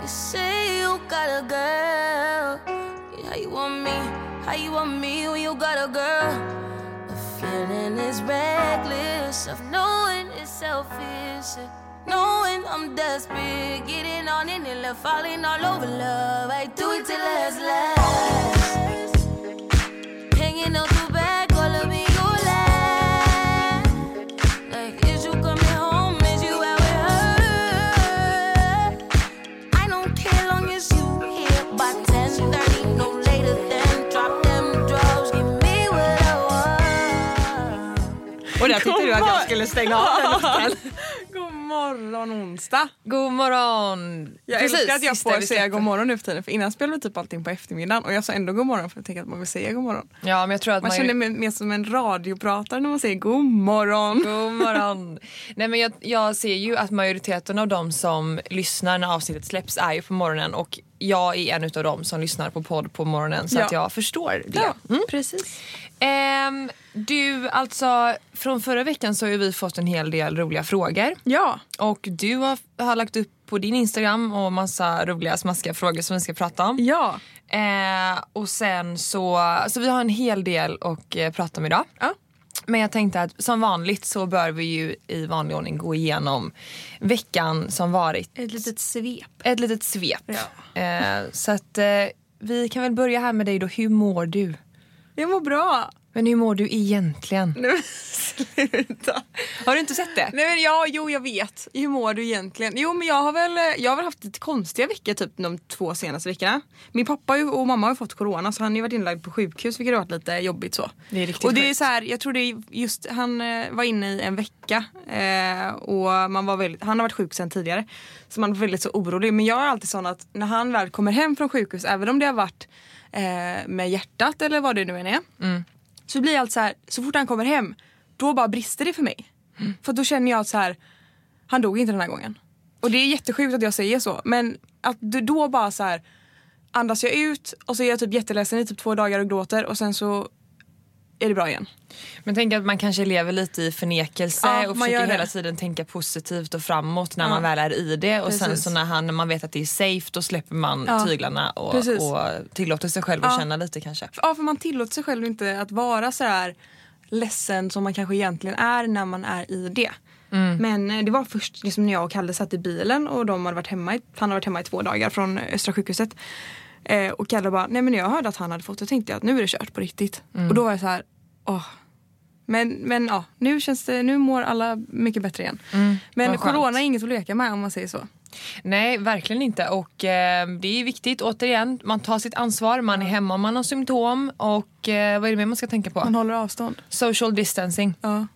You say you got a girl. How you want me? How you want me when you got a girl? The feeling is reckless of knowing it's selfish. and Knowing I'm desperate, getting on in it, love falling all over love. I do it till last last. Hanging out the back, all of me, you last. Like, is you coming home? Is you out with her? I don't care long as you here by 10:30, no later than drop them drugs, give me what I want. Och där tyckte du att jag skulle stänga av den låten. God morgon onsdag. God morgon. Jag älskar att jag sista får vi säga släpper. god morgon nu för tiden. För innan spelade vi typ allting på eftermiddagen och jag sa ändå god morgon för jag tänkte att man vill säga god morgon. Ja, men jag tror att Man man... känner mig mer som en radiopratare när man säger god morgon. God morgon. Nej, men jag, jag ser ju att majoriteten av de som lyssnar när avsnittet släpps är ju på morgonen och jag är en av dem som lyssnar på podd på morgonen så Ja. att jag förstår det. Mm. Ja, precis. Ehm, du, alltså från förra veckan så har ju vi fått en hel del roliga frågor. Ja, Och du har, har lagt upp på din Instagram och massa roliga smaskiga frågor som vi ska prata om. ja. Eh, och sen så, så vi har en hel del att eh, prata om idag. Ja. Men jag tänkte att som vanligt så bör vi ju i vanlig ordning gå igenom veckan som varit. Ett litet svep. Ett litet svep. Eh, så att eh, vi kan väl börja här med dig då. Hur mår du? Jag mår bra. Men hur mår du egentligen? Nej men sluta. Har du inte sett det? Nej men ja, jo jag vet. Hur mår du egentligen? Jo men jag har väl, jag har väl haft lite konstiga veckor typ de två senaste veckorna. Min pappa har ju- och mamma har ju fått corona så han har ju varit inlagd på sjukhus vilket har varit lite jobbigt så. Det är riktigt och det är sjukt. så här, jag tror det är just, han eh, var inne i en vecka eh, och man var väldigt, han har varit sjuk sedan tidigare. Så man var väldigt så orolig. Men jag är alltid sån att när han väl kommer hem från sjukhus, även om det har varit eh, med hjärtat eller vad det nu än är. Mm. Så blir jag alltid så här, så fort han kommer hem, då bara brister det för mig. Mm. För då känner jag att så här, han dog inte den här gången. Och det är jättesjukt att jag säger så, men att du då bara så här andas jag ut och så är jag typ jätteledsen i typ två dagar och gråter och sen så är det bra igen. Men tänk att man kanske lever lite i förnekelse Ja, och man gör försöker det. hela tiden tänka positivt och framåt när Ja. man väl är i det. Och sen Precis. så när, han, när man vet att det är safe då släpper man Ja. tyglarna och, Precis. och tillåter sig själv att Ja. känna lite kanske. Ja, för man tillåter sig själv inte att vara så här ledsen som man kanske egentligen är när man är i det. Men eh, det var först liksom när jag och Kalle satt i bilen och de hade varit hemma i, han hade varit hemma i två dagar från Östra sjukhuset. Eh, och Kalle bara, nej men när jag hörde att han hade fått det tänkte jag att nu är det kört på riktigt. Och då var jag så här, åh. Men, men ja, nu känns det, nu mår alla mycket bättre igen. men vad skönt. corona är inget att leka med om man säger så. Nej, verkligen inte. Och eh, det är viktigt återigen, man tar sitt ansvar, man är hemma om man har symptom och eh, vad är det mer man ska tänka på? Man håller avstånd. Social distancing. Ja.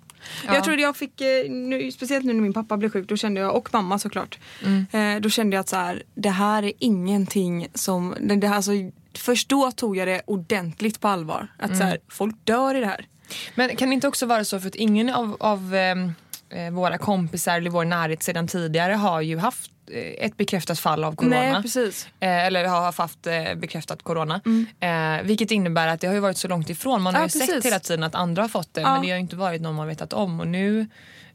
Ja. Jag trodde jag fick, eh, nu, speciellt nu när min pappa blev sjuk, då kände jag, och mamma såklart. Mm. Eh, då kände jag att så här, det här är ingenting som, det det här, alltså, först då tog jag det ordentligt på allvar. Att så Mm. här, folk dör i det här. Men kan det inte också vara så för att ingen av, av ehm, eh, våra kompisar eller vår närhet sedan tidigare har ju haft eh, ett bekräftat fall av corona. Nej precis. Eh, eller har haft eh, bekräftat corona. Eh, vilket innebär att det har ju varit så långt ifrån. Man har Mm. Ja, ju sett precis. hela tiden att andra har fått det Ja. men det har ju inte varit någon man vetat om. Och nu,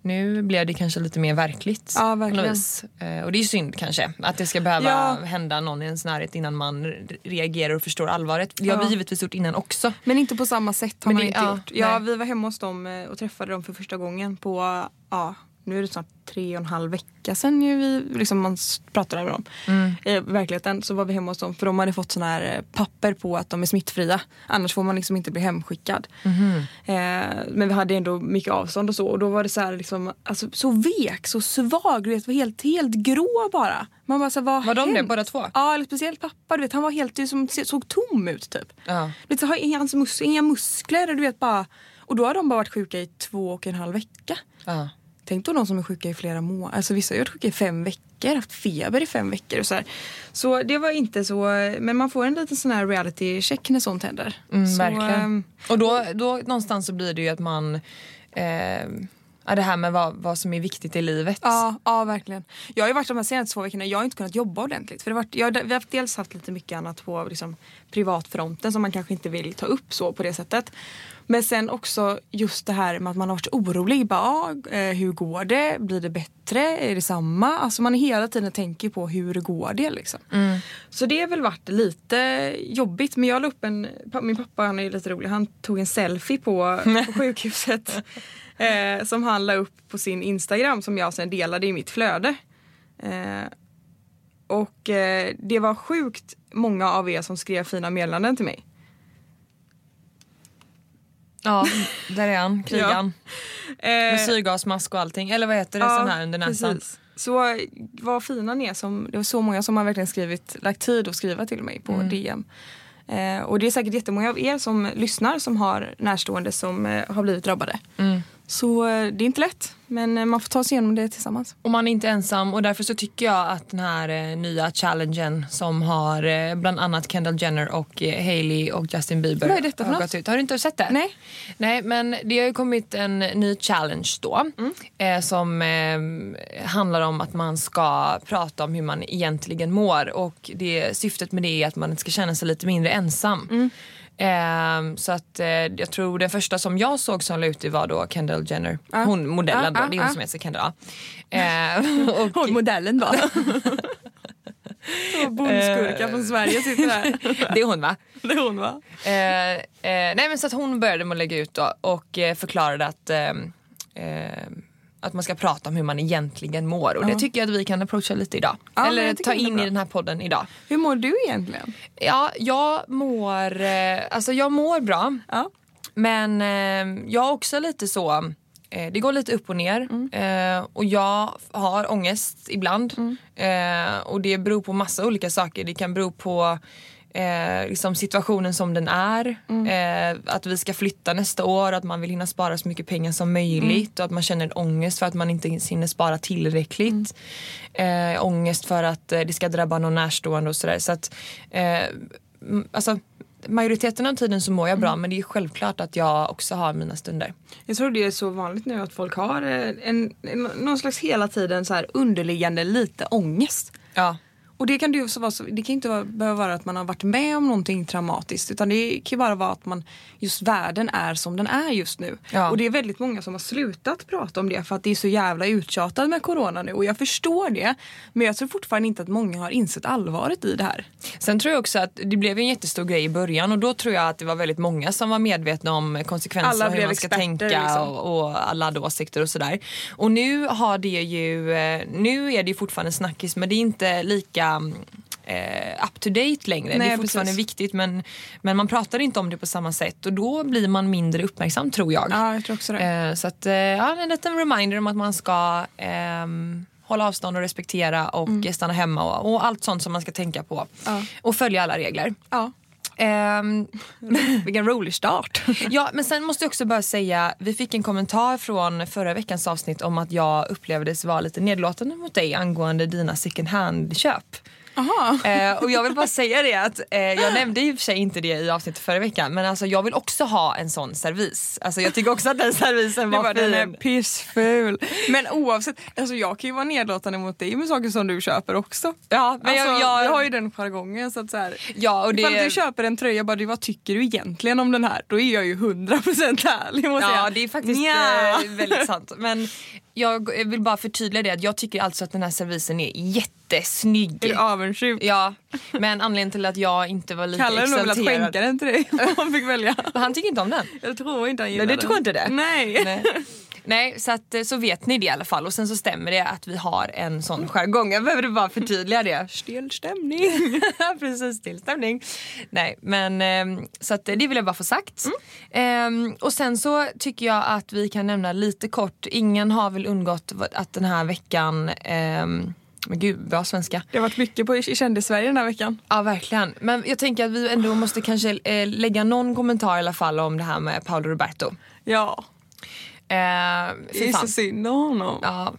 nu blev det kanske lite mer verkligt. Ja, på något verkligen. vis. Eh, och det är ju synd kanske att det ska behöva Ja. hända någon i ens närhet innan man re- reagerar och förstår allvaret. Det har Ja. vi givetvis gjort innan också. Men inte på samma sätt har Men man det- inte ja, gjort. Ja, nej. vi var hemma hos dem eh, och träffade dem för första gången på, ja, nu är det snart tre och en halv vecka sedan ju vi, liksom man s- pratade med dem. Mm. I verkligheten så var vi hemma hos dem för de hade fått såna här eh, papper på att de är smittfria. Annars får man liksom inte bli hemskickad. Mhm. Eh, men vi hade ändå mycket avstånd och så och då var det så här liksom, alltså, så vek, så svag, du vet, var helt, helt grå bara. Man bara så här, vad Var de hänt? det båda två? Ja, eller speciellt pappa, du vet han var helt, du som, såg tom ut typ. Ja. Du vet, så har inga, hans mus- inga muskler. Du vet, bara, och då har de bara varit sjuka i två och en halv vecka. Ja. Tänk då de som är sjuka i flera månader. Alltså, vissa har ju varit sjuka i fem veckor, haft feber i fem veckor. Och så, här. så det var inte så... Men man får en liten sån här reality check när sånt händer. Mm, så, verkligen. ehm, Och då, då någonstans så blir det ju att man eh, ja, det här med vad, vad som är viktigt i livet. Ja, ja, verkligen. Jag har ju varit de här senaste två veckorna, jag har inte kunnat jobba ordentligt. För det har varit, jag har, vi har haft- dels haft lite mycket annat på liksom, privatfronten som man kanske inte vill ta upp så på det sättet. Men sen också just det här med att man har varit orolig. Bara, ah, eh, hur går det? Blir det bättre? Är det samma? Alltså man hela tiden tänker på hur går det liksom. Så det har väl varit lite jobbigt. Men jag la upp en, pa- min pappa han är ju lite rolig, han tog en selfie på, på sjukhuset. Eh, som han la upp på sin Instagram som jag sen delade i mitt flöde. Eh, och eh, det var sjukt många av er som skrev fina meddelanden till mig. Ja, där är han, krigaren. Eh, Med syrgasmask och allting. Eller vad heter det? ja, sån här under näsan. precis. Så eh, vad fina ni är som, det var så många som har verkligen skrivit, lagt tid att skriva till mig på DM. Eh, och det är säkert jättemånga av er som lyssnar som har närstående som eh, har blivit drabbade. Så eh, det är inte lätt, men eh, man får ta sig igenom det tillsammans. Och man är inte ensam och därför så tycker jag att den här eh, nya challengen som har eh, bland annat Kendall Jenner och eh, Hailey och Justin Bieber Vad är detta för har något? gått ut. Har du inte sett det? Nej. Nej men det har ju kommit en ny challenge då eh, som eh, handlar om att man ska prata om hur man egentligen mår och det, syftet med det är att man ska känna sig lite mindre ensam. Ehm, så att eh, jag tror den första som jag såg som la ut det var då Kendall Jenner. Hon modellen Ah, då, ah, det är hon ah. som heter Kendall. ja. Ehm, och, modellen då. Bondskurka från Sverige sitter här. det är hon va? Eh. Det är hon va? Eh, eh, nej men så att hon började med att lägga ut då och eh, förklarade att, ehm, ehm, att man ska prata om hur man egentligen mår och det tycker jag att vi kan approacha lite idag. Ja, men Eller jag tycker ta det är in bra. i den här podden idag. Hur mår du egentligen? Ja, jag mår, eh, alltså jag mår bra. Ja. Men eh, jag är också lite så, eh, det går lite upp och ner eh, och jag har ångest ibland eh, och det beror på massa olika saker. Det kan bero på eh, liksom situationen som den är, eh, att vi ska flytta nästa år, att man vill hinna spara så mycket pengar som möjligt och att man känner ångest för att man inte hinner spara tillräckligt. Eh, ångest för att eh, det ska drabba någon närstående och sådär. Så att, eh, m- alltså, majoriteten av tiden så mår jag bra Mm. men det är självklart att jag också har mina stunder. Jag tror det är så vanligt nu att folk har eh, en, en, någon slags hela tiden så här underliggande lite ångest. Ja. Och det kan, det ju också vara så, det kan ju inte vara, behöva vara att man har varit med om någonting traumatiskt utan det kan ju bara vara att man, just världen är som den är just nu. Ja. Och det är väldigt många som har slutat prata om det för att det är så jävla uttjatat med corona nu och jag förstår det men jag tror fortfarande inte att många har insett allvaret i det här. Sen tror jag också att det blev ju en jättestor grej i början och då tror jag att det var väldigt många som var medvetna om konsekvenser Alla och hur blev man ska experter, tänka liksom. och, och alla hade åsikter och sådär. Och nu har det ju, eh, nu är det ju fortfarande snackis men det är inte lika mm, eh, up to date längre. det Nej, är fortfarande precis. viktigt men, men man pratar inte om det på samma sätt och då blir man mindre uppmärksam tror jag. Ja, jag tror också det. Eh, så att, eh, ja, en liten reminder om att man ska ehm, hålla avstånd och respektera och stanna hemma och, och allt sånt som man ska tänka på. Mm. Ja. Och följa alla regler. Ja. Ehm, Vilken rolig start. ja, men sen måste jag också bara säga, vi fick en kommentar från förra veckans avsnitt om att jag upplevdes vara lite nedlåtande mot dig angående dina second hand-köp. Aha. Eh, och jag vill bara säga det att eh, jag nämnde i och för sig inte det i avsnittet förra veckan men alltså jag vill också ha en sån servis. Alltså jag tycker också att den servisen Det var var den är fin. pissful. Men oavsett, alltså jag kan ju vara nedlåtande mot dig med saker som du köper också. Ja, men jag- alltså, jag- har ju den jargongen så att så här. Ja, och det- Ifall du köper en tröja, bara, du, vad tycker du egentligen om den här? Då är jag ju 100% ärlig måste Ja, jag. det är faktiskt Nja. eh, väldigt sant. Men jag vill bara förtydliga det att jag tycker alltså att den här servisen är jättesnygg. Är du avundsjuk? Ja, men anledningen till att jag inte var lika Kalle hade nog velat exalterad. skänka den till dig om han fick välja. Han tycker inte om den. Jag tror inte han gillar Nej, den. du tror inte det? Nej. Nej. Nej, så, att, eh, så vet ni det i alla fall. Och sen så stämmer det att vi har en sån jargong. Jag behöver bara förtydliga det. Stel stämning. Precis, tillstämning. Nej, men ehm, så att eh, det vill jag bara få sagt. Ehm, och sen så tycker jag att vi kan nämna lite kort, ingen har väl undgått vad- att den här veckan ehm, men gud, bra svenska. Det har varit mycket på i Kändis-Sverige den här veckan. Ja, verkligen. Men jag tänker att vi ändå måste kanske eh, lägga någon kommentar i alla fall om det här med Paolo Roberto. Eh, Ja, det fy är fan. så synd om honom. Ja.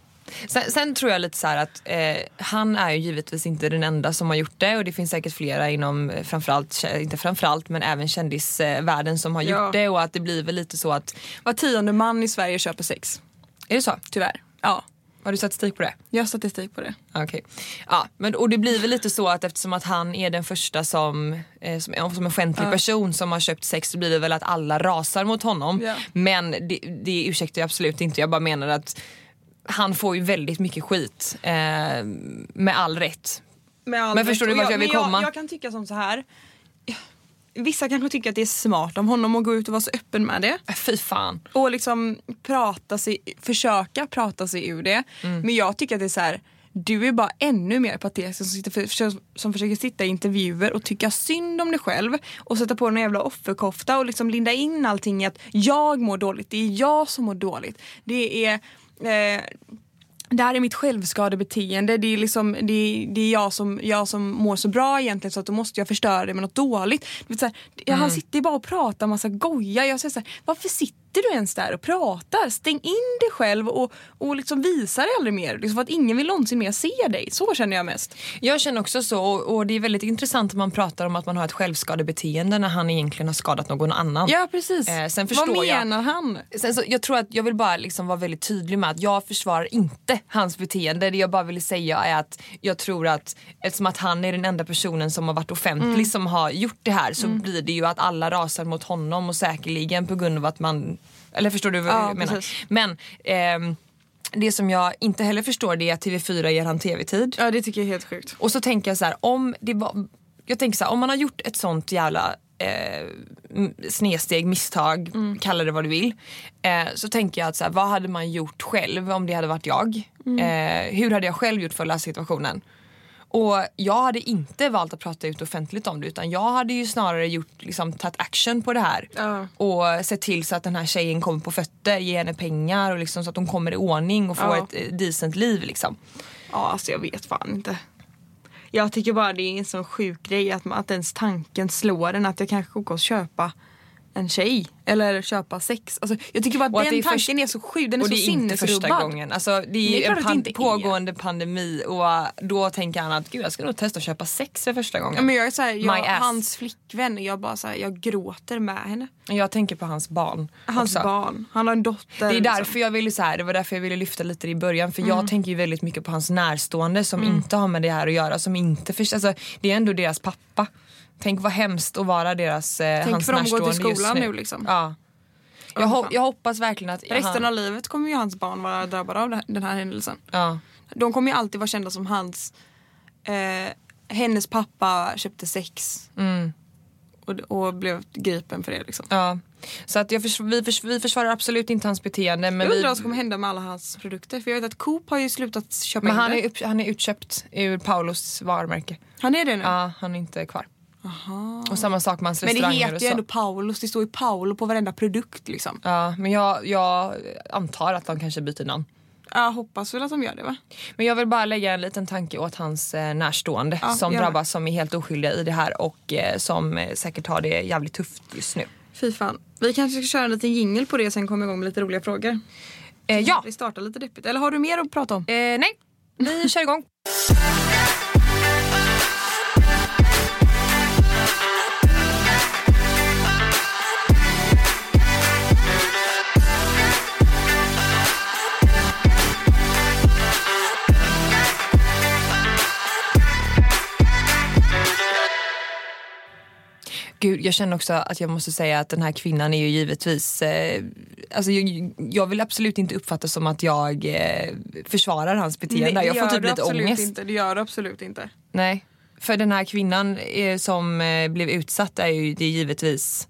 Sen, sen tror jag lite så här att eh, han är ju givetvis inte den enda som har gjort det och det finns säkert flera inom eh, framförallt, inte framförallt men även kändisvärlden som har gjort Ja. det och att det blir väl lite så att, Var tionde man i Sverige köper sex. är det så? Tyvärr. Ja. Har du statistik på det? Jag har statistik på det. Okej. Ja, men, och det blir väl lite så att eftersom att han är den första som, eh, som, som offentlig person som har köpt sex så blir det väl att alla rasar mot honom. Ja. Men det, det ursäktar jag absolut inte. Jag bara menar att han får ju väldigt mycket skit. Eh, med all rätt. Med all Men rätt. förstår du Och varför jag jag vill men komma? Jag, jag kan tycka som så här. Vissa kanske tycker att det är smart om honom att gå ut och vara så öppen med det. Äh, Fy fan. Och liksom prata sig, försöka prata sig ur det. Men jag tycker att det är så här. Du är bara ännu mer patetisk som, sitter för, som försöker sitta i intervjuer och tycka synd om dig själv och sätta på dig en jävla offerkofta och liksom linda in allting i att jag mår dåligt, det är jag som mår dåligt. Det är eh, det här är mitt självskadebeteende. Det är, liksom, det är, det är jag, som, jag som mår så bra egentligen så att då måste jag förstöra det med något dåligt. Det vill säga, ja, Han sitter ju bara och pratar massa goja. Jag säger så här, varför sitter du ens där och pratar? Stäng in dig själv och, och liksom visa dig aldrig mer. Liksom för att ingen vill någonsin mer se dig. Så känner jag mest. Jag känner också så och, och det är väldigt intressant att man pratar om att man har ett självskadebeteende när han egentligen har skadat någon annan. Ja precis. Eh, sen Vad förstår jag- menar han? Sen så, jag tror att jag vill bara liksom vara väldigt tydlig med att jag försvarar inte hans beteende. Det jag bara vill säga är att jag tror att eftersom att han är den enda personen som har varit offentlig Mm. som har gjort det här så blir det ju att alla rasar mot honom och säkerligen på grund av att man... Eller förstår du vad Ja, jag menar? precis. Men ehm, det som jag inte heller förstår det är att TV4 ger han tv-tid. Ja det tycker jag är helt sjukt. Och så tänker jag så här, om det var, jag tänker så här, om man har gjort ett sånt jävla eh, m- snedsteg, misstag, Mm. kalla det vad du vill. Eh, så tänker jag att så här, vad hade man gjort själv om det hade varit jag? Mm. Eh, hur hade jag själv gjort för att lösa situationen? Och jag hade inte valt att prata ut offentligt om det utan jag hade ju snarare gjort, liksom, tagit action på det här. Ja. Och sett till så att den här tjejen kommer på fötter, ge henne pengar och liksom, så att hon kommer i ordning och får Ja. ett eh, decent liv. Liksom. Ja, alltså jag vet fan inte. Jag tycker bara det är en sån sjuk grej att, man, att ens tanken slår en att jag kanske ska gå och köpa en tjej eller köpa sex. Alltså, jag tycker bara att Och att den det är tanken först- är så sjuk, den är och så det är inte första sinnesrubbad. gången. Alltså, det är ju Det är klart en att det inte pan- är. pågående pandemi och äh, då tänker han att Gud, jag ska nog testa att köpa sex för första Ja, gången. men jag är så här, jag, My ass. hans flickvän, jag bara så här, jag gråter med henne. Jag tänker på hans barn. Hans också. barn, han har en dotter. Det är liksom. Mm. därför jag ville så här, det var därför jag ville lyfta lite det i början för jag tänker ju väldigt mycket på hans närstående som inte har med det här att göra. Som inte för, alltså, det är ändå deras pappa. Tänk vad hemskt att vara deras, eh, Tänk hans för dem att gå till närstående just skolan nu. nu, liksom. ja. jag, Åh, ho- fan. jag hoppas verkligen att... Resten han, av livet kommer ju hans barn vara drabbade av det här- den här händelsen. ja. De kommer ju alltid vara kända som hans... Eh, hennes pappa köpte sex. Och, och blev gripen för det liksom. Ja. Så att jag förs- vi, förs- vi försvarar absolut inte hans beteende. Men Jag undrar vi, vad som kommer hända med alla hans produkter. För jag vet att Coop har ju slutat köpa Men in han det. är, upp, han är utköpt ur Paulos varumärke. Han är det nu? Ja, han är inte kvar. Och samma sak med hans Men det restauranger heter och ju så. ändå Paulus. Det står ju Paolo på varenda produkt liksom. Ja, men jag, jag antar att de kanske byter namn. Jag hoppas väl att de gör det va? Men jag vill bara lägga en liten tanke åt hans eh, närstående Ja, som gör det. drabbas som är helt oskyldiga i det här och eh, som eh, säkert har det jävligt tufft just nu. Fy fan. Vi kanske ska köra en liten jingle på det och sen komma igång med lite roliga frågor. Eh, ja, Vi startar lite deppigt. Eller har du mer att prata om? eh, nej, vi kör igång. Gud, jag känner också att jag måste säga att den här kvinnan är ju givetvis... Eh, alltså jag, jag vill absolut inte uppfattas som att jag eh, försvarar hans beteende. det jag får gör typ du lite absolut ångest. Inte. Det gör du absolut inte. Nej, för den här kvinnan eh, som eh, blev utsatt är ju det är givetvis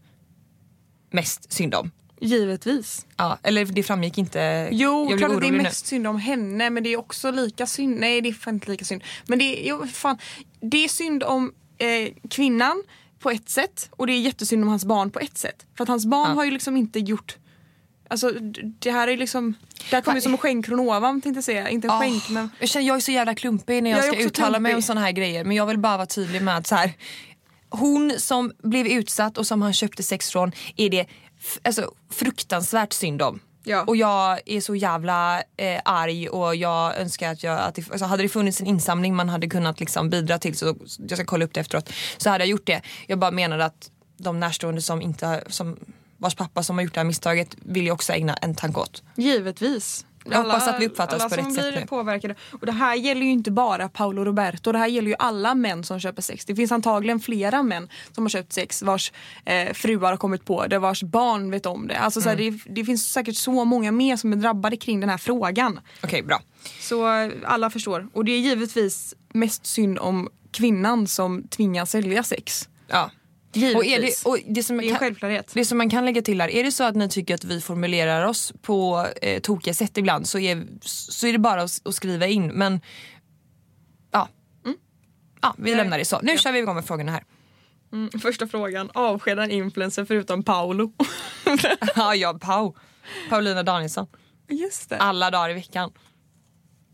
mest synd om. Givetvis. Ja, eller det framgick inte. Jo, eh, jag klart blev att det är orolig nu. mest synd om henne men det är också lika synd. Nej det är fan inte lika synd. Men det är, jo, fan, det är synd om eh, kvinnan på ett sätt och det är jättesynd om hans barn på ett sätt. För att hans barn Ja. har ju liksom inte gjort Alltså d- det här är liksom Det här kommer ju som en skänk från ovan tänkte jag säga. Inte en Ah, skänk men Jag känner jag är så jävla klumpig när jag, Jag är ska också uttala mig om klumpig. såna här grejer men jag vill bara vara tydlig med att så här, hon som blev utsatt och som han köpte sex från är det f- alltså, fruktansvärt synd om. Ja. Och jag är så jävla eh, arg och jag önskar att jag, att det, alltså, hade det funnits en insamling man hade kunnat liksom, bidra till så jag ska kolla upp det efteråt så hade jag gjort det. Jag bara menar att de närstående som inte har, som, vars pappa som har gjort det här misstaget vill jag också ägna en tanke åt. givetvis. Jag hoppas att vi uppfattas alla på rätt som sätt blir nu. påverkade. Och det här gäller ju inte bara Paolo Roberto, det här gäller ju alla män som köper sex. Det finns antagligen flera män som har köpt sex vars eh, fruar har kommit på det, vars barn vet om det. Alltså, så här, Mm. det, det finns säkert så många mer som är drabbade kring den här frågan. Okej, bra. Så eh, alla förstår. Och det är givetvis mest synd om kvinnan som tvingas sälja sex. Ja. Och är det, Givetvis. och det, som det är en kan, självklarhet. det som man kan lägga till här, är det så att ni tycker att vi formulerar oss på eh, tokiga sätt ibland så är, så är det bara att, s- att skriva in. Men ja, ja vi lämnar det så. Nu kör vi igång med frågorna här. Mm, första frågan, avskeda en influencer förutom Paolo. ja, ja, Pau. Paulina Danielsson. Just det. Alla dagar i veckan.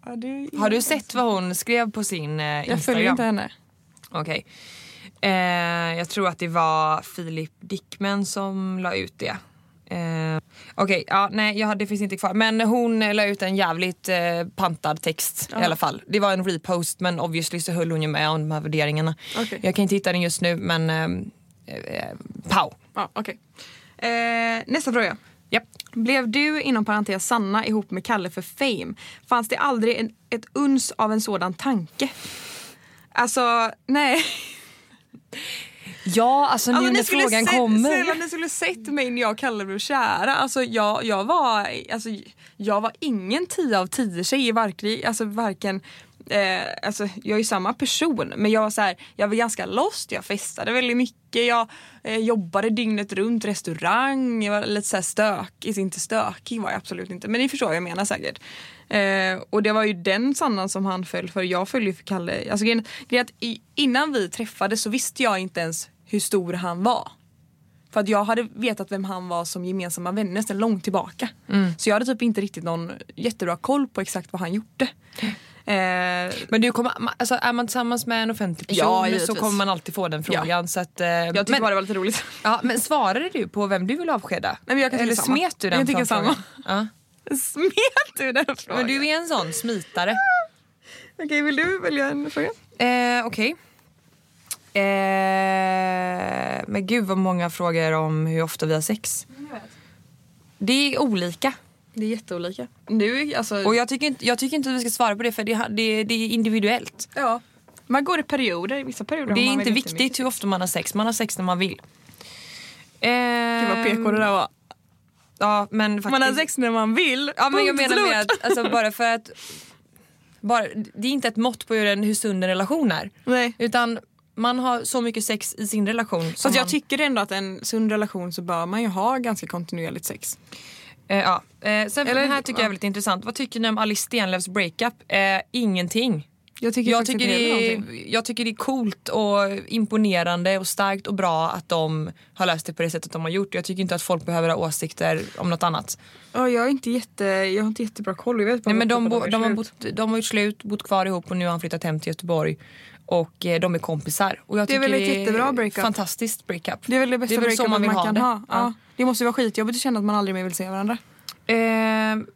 Ja, det är- Har du sett vad hon skrev på sin eh, Instagram? Jag följer inte henne. Okej. Eh, jag tror att det var Filip Dickman som la ut det. Eh, Okej, ja, nej jag, har- det finns inte kvar. Men hon eh, la ut en jävligt eh, pantad text i alla fall. Det var en repost men obviously så höll hon ju med om de här värderingarna. Okej. Jag kan inte hitta den just nu men eh, eh, pow. Ja, okej. eh, nästa fråga. Japp. Blev du, inom parentes Sanna, ihop med Kalle för fame? Fanns det aldrig en, ett uns av en sådan tanke? Alltså, nej. Ja, alltså, Alltså, nu när skulle frågan se- kommer. Snälla, ni skulle sett mig när jag och Kalle blev kära. Alltså, jag, jag, var, alltså, jag var ingen 10 av 10 tjej, varken, alltså, varken Eh, alltså, jag är ju samma person men jag var, så här, jag var ganska lost, jag festade väldigt mycket, jag eh, jobbade dygnet runt, restaurang, jag var lite så här stökig, inte stökig var jag absolut inte men ni förstår vad jag menar säkert. Eh, och det var ju den Sannan som han föll för, jag föll ju för Kalle. Alltså, grejen, grejen är att i, innan vi träffades så visste jag inte ens hur stor han var. För att jag hade vetat vem han var som gemensamma vänner sedan långt tillbaka. Mm. Så jag hade typ inte riktigt någon jättebra koll på exakt vad han gjorde. Eh, Men du kommer, ma- alltså, är man tillsammans med en offentlig person Ja, så givetvis. kommer man alltid få den frågan. Så att, eh, jag tyckte men, bara det var lite roligt. ja, men svarade du på vem du vill avskeda? Nej, men jag kan tycka Eller samma. smet du Jag den tycker framfrågan? Ja. Smet du den frågan? Men du är en sån smitare. Okej, vill du välja en fråga? Eh, Okej. Eh, men gud vad många frågor om hur ofta vi har sex. Det är olika. Det är jätteolika. Nu, alltså, Och jag tycker inte, jag tycker inte att vi ska svara på det för det, ha- det, det är individuellt. ja. Man går i perioder, i vissa perioder Det har är man inte väl viktigt mycket. hur ofta man har sex. Man har sex när man vill. Eh, Gud vad PK det där var. Ja, men faktiskt. Man har sex när man vill. Ja, men jag Punkt menar slut. med att alltså, bara för att... Bara, det är inte ett mått på hur, en, hur sund en relation är. Nej. Utan man har så mycket sex i sin relation. som Fast jag man- tycker ändå att en sund relation så bör man ju ha ganska kontinuerligt sex. Eh, ja. eh, sen Eller- den här tycker jag är ja. väldigt intressant. Vad tycker ni om Alice Stenlöfs breakup? Eh, ingenting. Jag tycker, Jag faktiskt tycker, inte det det är är, någonting. jag tycker det är coolt och imponerande och starkt och bra att de har löst det på det sättet de har gjort. Jag tycker inte att folk behöver ha åsikter om något annat. Ja, jag, är inte jätte, jag har inte jättebra koll. Jag vet bara Nej, men vad de, klubbarna är bo, de, har slut. bott, de har gjort slut, bott kvar ihop och nu har han flyttat hem till Göteborg. Och eh, de är kompisar. Och jag Det är tycker väl ett jättebra breakup. Fantastiskt breakup. Det är väl det bästa väl så breakupet man, man vill ha kan det. ha. Ja. Det måste ju vara skitjobbigt att känna att man aldrig mer vill se varandra. Eh,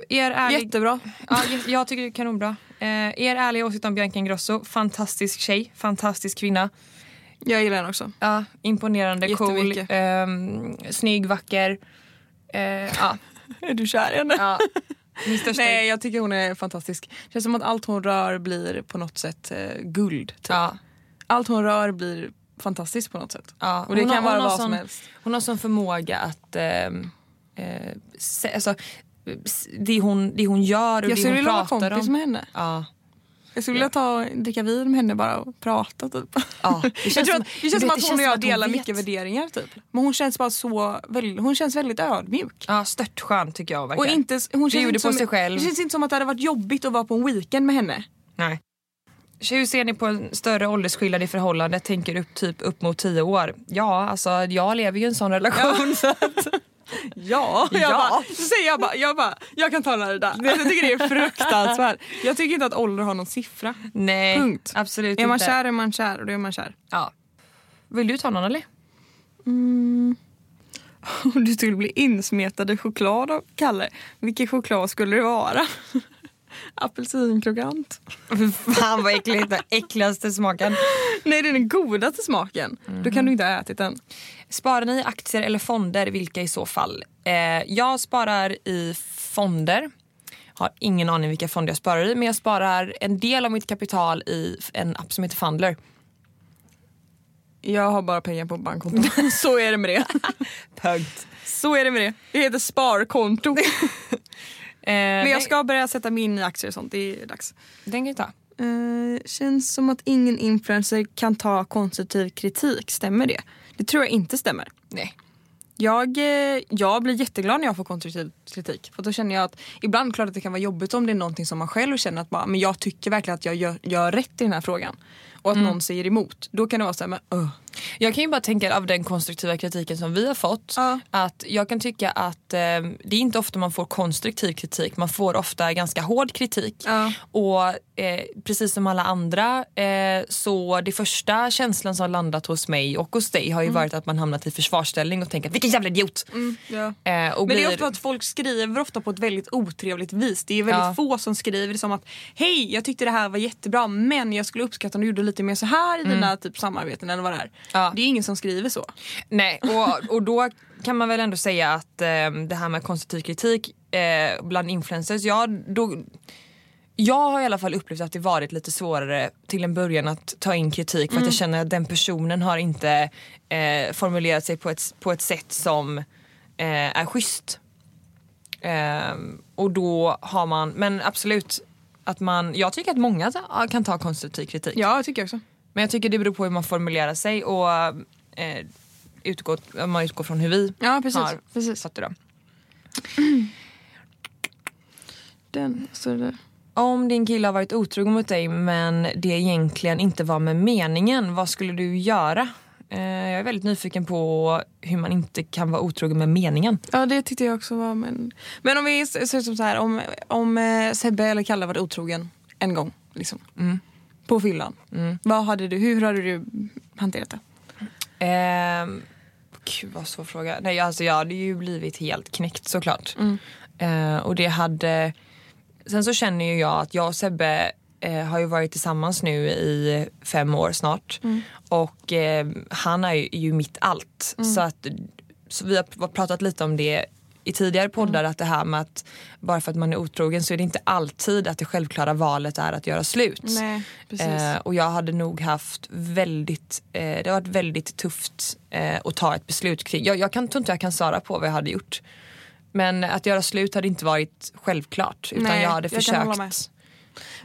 er ärlig... Jättebra. Ja, jä- jag tycker det är kanonbra. Eh, er ärliga åsikt om Bianca Ingrosso. Fantastisk tjej, fantastisk kvinna. Jag gillar den också. Ja, imponerande, cool, Jättemycket. ehm, snygg, vacker. Eh, ja, Är du kär i henne? ja. Min största... Nej, jag tycker hon är fantastisk. Det känns som att allt hon rör blir på något sätt eh, guld. Typ. Ja, Allt hon rör blir fantastiskt på något sätt. ja. Och det Hon kan har- vara hon har vad sån- som helst. Hon har sån förmåga att... ehm, eh, se, alltså, s- det, hon, det hon gör och Jag det skulle hon vilja vara pratar kompis om. med henne. Ja. Jag skulle vilja ta, dricka vin med henne bara och prata typ. Ja, det känns jag tror som- att, det känns du som att vet, det hon känns och jag som att hon delar vet. mycket värderingar typ. Men hon känns bara så, väl, hon känns väldigt ödmjuk. ja, störtskön tycker jag hon verkar. Och inte, hon känns gjorde inte på som, sig själv. Det känns inte som att det hade varit jobbigt att vara på en weekend med henne. Nej. Hur ser ni på en större åldersskillnad i förhållandet? Tänker upp typ upp mot tio år? Ja, alltså jag lever ju i en sån relation. Så att, Ja, jag Ja. Bara, så säger jag bara, jag bara, jag kan tala det där. Alltså, jag tycker det är fruktansvärt. Jag tycker inte att ålder har någon siffra. nej, Punkt. absolut Är man inte. kär är man kär och då är man kär. Ja. Vill du ta någon eller? Om du skulle bli insmetad i choklad av Kalle, vilken choklad skulle det vara? Apelsinkrokant. Fan vad äckligt, den äckligaste smaken. Nej, det är den godaste smaken. Då kan du inte ha ätit den. Sparar ni i aktier eller fonder? Vilka i så fall? Eh, jag sparar i fonder. Har Har ingen aning vilka fonder jag sparar i men jag sparar en del av mitt kapital i en app som heter Fundler. Jag har bara pengar på bankkontot. Så är det med det. Punkt. Så är det med det. Det heter sparkonto. Men jag ska börja sätta mig in i aktier och sånt. Det är dags. Eh, Den kan jag ta. Eh, känns som att ingen influencer kan ta konstruktiv kritik. Stämmer det? Det tror jag inte stämmer. Nej. Jag, eh, jag blir jätteglad när jag får konstruktiv kritik. För då känner jag att ibland klart att det kan vara jobbigt om det är någonting som man själv känner att bara, men jag tycker verkligen att jag gör, gör rätt i den här frågan. Och att någon säger emot. Då kan det vara så här, men öh. Jag kan ju bara tänka av den konstruktiva kritiken som vi har fått Ja. att jag kan tycka att eh, det är inte ofta man får konstruktiv kritik. Man får ofta ganska hård kritik. Ja. Och eh, precis som alla andra eh, så det första känslan som har landat hos mig och hos dig har Mm. ju varit att man hamnat i försvarsställning och tänker vilken jävla idiot. ja. Eh, och Mm. Men det blir, är ofta att folk skriver ofta på ett väldigt otrevligt vis. Det är väldigt Ja. få som skriver som att hej jag tyckte det här var jättebra men jag skulle uppskatta om du gjorde lite mer så här i dina typ, samarbeten eller vad det är. Mm. Ja. Det är ingen som skriver så. Nej, och, och då kan man väl ändå säga att eh, det här med konstruktiv kritik eh, bland influencers, ja då jag har i alla fall upplevt att det varit lite svårare till en början att ta in kritik för att jag känner att den personen har inte eh, formulerat sig på ett, på ett sätt som eh, är schysst. Ehm, och då har man, men absolut, att man, jag tycker att många ta- kan ta konstruktiv kritik. Ja tycker jag också. Men jag tycker det beror på hur man formulerar sig och eh, utgår, om man utgår från hur vi Ja precis. har precis. satt det. då. Den, så det. Om din kille har varit otrogen mot dig men det egentligen inte var med meningen, vad skulle du göra? Eh, jag är väldigt nyfiken på hur man inte kan vara otrogen med meningen. Ja det tyckte jag också var men... Men om vi s- ser som så här om, om eh, Sebbe eller Kalle varit otrogen en gång liksom. Mm. På fyllan. Vad hade du, hur hade du hanterat det? Ehm, gud vad svår fråga. Nej, alltså jag hade ju blivit helt knäckt såklart. Eh, och det hade... Sen så känner ju jag att jag och Sebbe eh, har ju varit tillsammans nu i fem år snart. Och eh, han är ju, ju mitt allt. Så att så vi har pr- pratat lite om det i tidigare poddar att det här med att bara för att man är otrogen så är det inte alltid att det självklara valet är att göra slut. Nej precis. Eh, och jag hade nog haft väldigt, eh, det har varit väldigt tufft eh, att ta ett beslut kring. Jag, jag kan, tror inte jag kan svara på vad jag hade gjort. Men att göra slut hade inte varit självklart utan Nej, jag hade jag kan hålla med. försökt.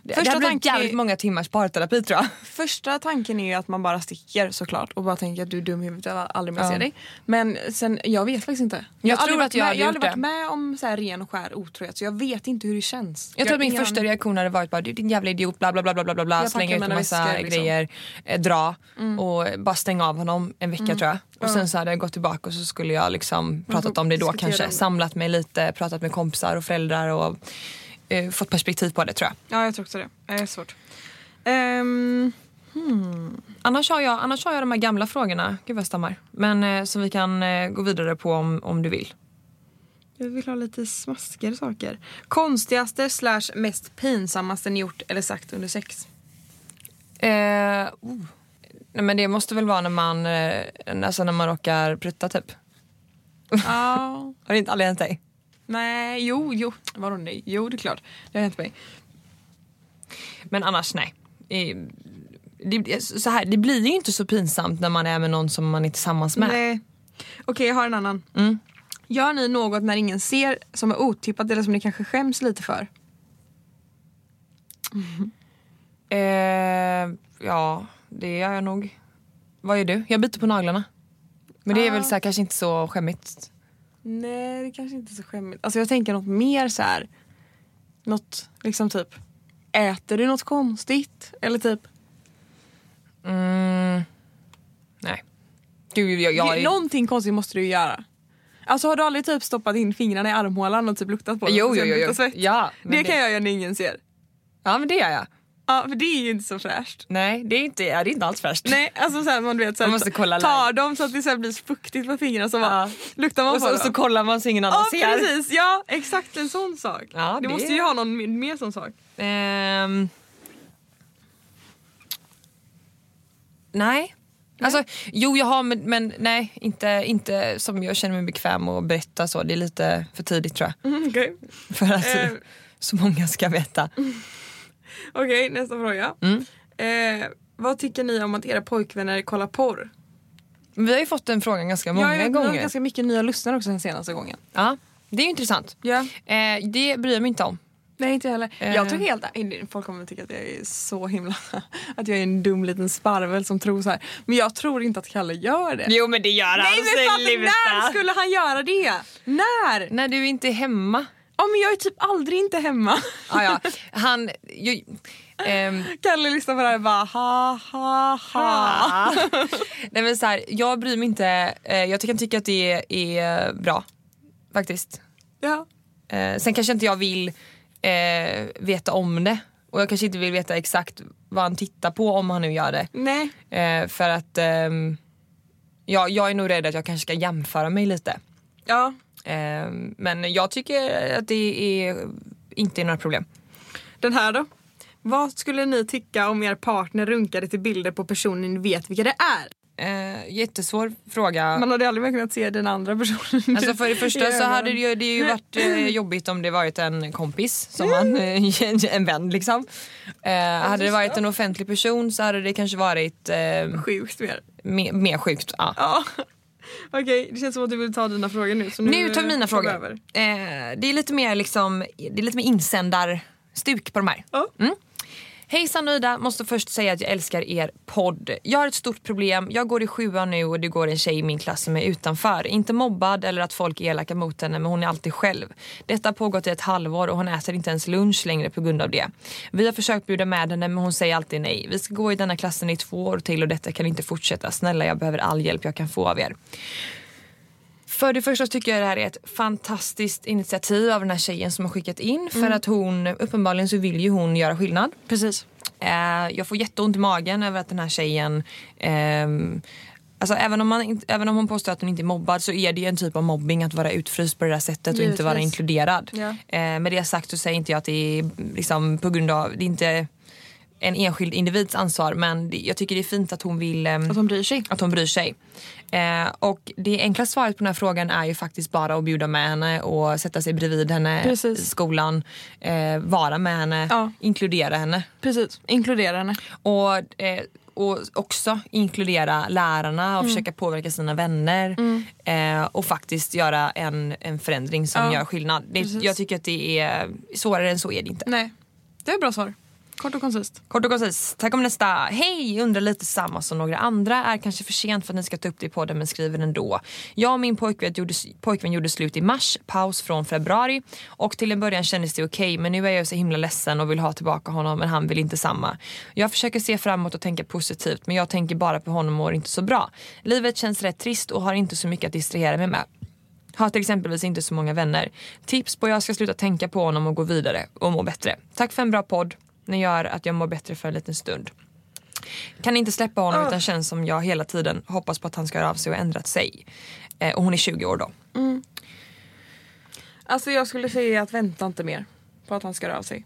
Det, det Första hade blivit tanken är- jävligt många timmars parterapi tror jag. Första tanken är ju att man bara sticker såklart och bara tänker att du är dum i huvudet, jag vill aldrig mer Ja. se dig. Men sen, jag vet faktiskt inte. Jag, har tror aldrig att varit med, jag hade jag har gjort aldrig varit det. med om så här ren och skär otrohet så jag vet inte hur det känns. Jag tror att min ingen första aning. reaktion hade varit bara du din jävla idiot bla bla bla bla bla, bla bla Jag slänga packar ut en mina massa väskor, liksom. Mm. grejer, eh, dra och bara stänga av honom en vecka tror jag. Och sen så hade jag gått tillbaka och så skulle jag liksom pratat om det Mm, då diskutera kanske, det. samlat mig lite, pratat med kompisar och föräldrar och eh, fått perspektiv på det tror jag. Ja jag tror också det. Det är svårt. Ehm, hmm. Annars har jag, annars har jag de här gamla frågorna, gud vad jag stammar, men eh, som vi kan eh, gå vidare på om, om du vill. jag vill ha lite smaskigare saker. Konstigaste slash mest pinsammaste ni gjort eller sagt under sex? Eh, oh. Nej men det måste väl vara när man, eh, alltså när man råkar prutta typ. Ja. Har det inte aldrig hänt dig? Nej, jo, jo. Vadå nej? Jo det är klart. Det har hänt mig. Men annars nej. Eh, Det, så här, det blir ju inte så pinsamt när man är med någon som man är tillsammans med. Nej. Okej, jag har en annan. Gör ni något när ingen ser som är otippat eller som ni kanske skäms lite för? Eh, ja, det gör jag nog. Vad gör du? Jag biter på naglarna. Men det är Ah. väl så här, kanske inte så skämmigt. Nej, det kanske inte är så skämmigt. Alltså jag tänker något mer så här. Något liksom typ. Äter du något konstigt? Eller typ. Mm, nej. Gud, jag, jag, Någonting konstigt måste du ju göra. Alltså har du aldrig typ stoppat in fingrarna i armhålan och typ luktat på dem? Jo, och jo, sen jo. luktat jo. svett? Ja, men Det, kan jag göra när ingen ser. Ja, men det gör jag. Ja, för det är ju inte så fräscht. Nej, det är inte, ja, det är inte alls fräscht. Nej, alltså så här, man vet så här, Man måste kolla tar dem så att det så här blir fuktigt på fingrarna så bara, Ja. luktar man på Och så, och dem. så kollar man så ingen annan Ja ser. precis, ja exakt en sån sak. Ja, du det- måste ju ha någon mer, mer sån sak. Ehm. Nej. Alltså, jo, jag har, men, men nej, inte, inte som jag känner mig bekväm att berätta så. Det är lite för tidigt tror jag. Mm, okej. För att, Eh, så många ska veta. Okej, nästa fråga. Mm. Eh, vad tycker ni om att era pojkvänner kollar porr? Men Vi har ju fått den frågan ganska många jag har gånger. ganska mycket nya lyssnare också den senaste gången. Ja, det är ju intressant. Ja. Eh, det bryr jag mig inte om. Nej inte jag heller. Eh. Jag tycker helt folk kommer tycka att jag är så himla att jag är en dum liten sparvel som tror så här. Men jag tror inte att Kalle gör det. Jo men det gör han. Nej men fatta, när skulle han göra det? När? När du inte är hemma. Ja men jag är typ aldrig inte hemma. Ah, ja. Han... Ju, ehm, Kalle lyssnar på det här och bara ha ha ha. Ah. Nej men så här, jag bryr mig inte. Eh, jag kan tycka att det är, är bra. Faktiskt. Ja. Eh, sen kanske inte jag vill eh, veta om det. Och jag kanske inte vill veta exakt vad han tittar på om han nu gör det. Nej. Eh, för att ehm, jag, jag är nog rädd att jag kanske ska jämföra mig lite. Ja. Eh, men jag tycker att det är, inte är några problem. Den här då. Vad skulle ni tycka om er partner runkade till bilder på personer ni vet vilka det är? Eh, jättesvår fråga. Man hade aldrig mer kunnat se den andra personen. Alltså för det första så hade det ju, det ju varit eh, jobbigt om det varit en kompis, som man, eh, en vän liksom. Eh, hade det varit en offentlig person så hade det kanske varit eh, Sjukt mer. mer, mer sjukt. Ja. Ja. Okej, det känns som att du vill ta dina frågor nu. Så nu, Nu tar vi mina eh, frågor. över. Eh, det är lite mer liksom, det är lite mer insändarstuk på de här. Ja. Mm. Hejsan och Ida, måste först säga att jag älskar er podd. Jag har ett stort problem. Jag går i sjuan nu och det går en tjej i min klass som är utanför. Inte mobbad eller att folk är elaka mot henne men hon är alltid själv. Detta har pågått i ett halvår och hon äter inte ens lunch längre på grund av det. Vi har försökt bjuda med henne men hon säger alltid nej. Vi ska gå i denna klassen i två år till och detta kan inte fortsätta. Snälla jag behöver all hjälp jag kan få av er. För det första så tycker jag det här är ett fantastiskt initiativ av den här tjejen som har skickat in. För att hon, uppenbarligen så vill ju hon göra skillnad. Mm. Precis. Eh, jag får jätteont i magen över att den här tjejen ehm, Alltså, även, om man, inte- även om hon påstår att hon inte är mobbad så är det ju en typ av mobbing att vara utfryst på det där sättet och inte Givetvis. vara inkluderad. Ja. Eh, med det sagt så säger inte jag att det är liksom, på grund av, det är inte en enskild individs ansvar men det, jag tycker det är fint att hon vill ehm, Att hon bryr sig. att hon bryr sig. Eh, och det enkla svaret på den här frågan är ju faktiskt bara att bjuda med henne och sätta sig bredvid henne Precis. i skolan. Eh, vara med henne, Ja. inkludera henne. Precis, inkludera henne. Och, eh, och också inkludera lärarna Mm. och försöka påverka sina vänner. Eh, och faktiskt göra en, en förändring som Ja. gör skillnad. Det, Precis. jag tycker att det är svårare än så är det inte. Nej, det är ett bra svar. Kort och koncist. Kort och koncist. Tack om nästa. Hej! Undrar lite samma som några andra. Är kanske för sent för att ni ska ta upp det i podden men skriver ändå. Jag och min pojkvän gjorde, pojkvän gjorde slut i mars, paus från februari. Och till en början kändes det okej men nu är jag så himla ledsen och vill ha tillbaka honom men han vill inte samma. Jag försöker se framåt och tänka positivt men jag tänker bara på honom och mår inte så bra. Livet känns rätt trist och har inte så mycket att distrahera mig med. Har till exempelvis inte så många vänner. Tips på hur jag ska sluta tänka på honom och gå vidare och må bättre. Tack för en bra podd. Ni gör att jag mår bättre för en liten stund. Kan inte släppa honom Ah. utan känns som jag hela tiden hoppas på att han ska höra av sig och ändrat sig. Eh, och hon är 20 år då. Alltså jag skulle säga att vänta inte mer på att han ska röra sig.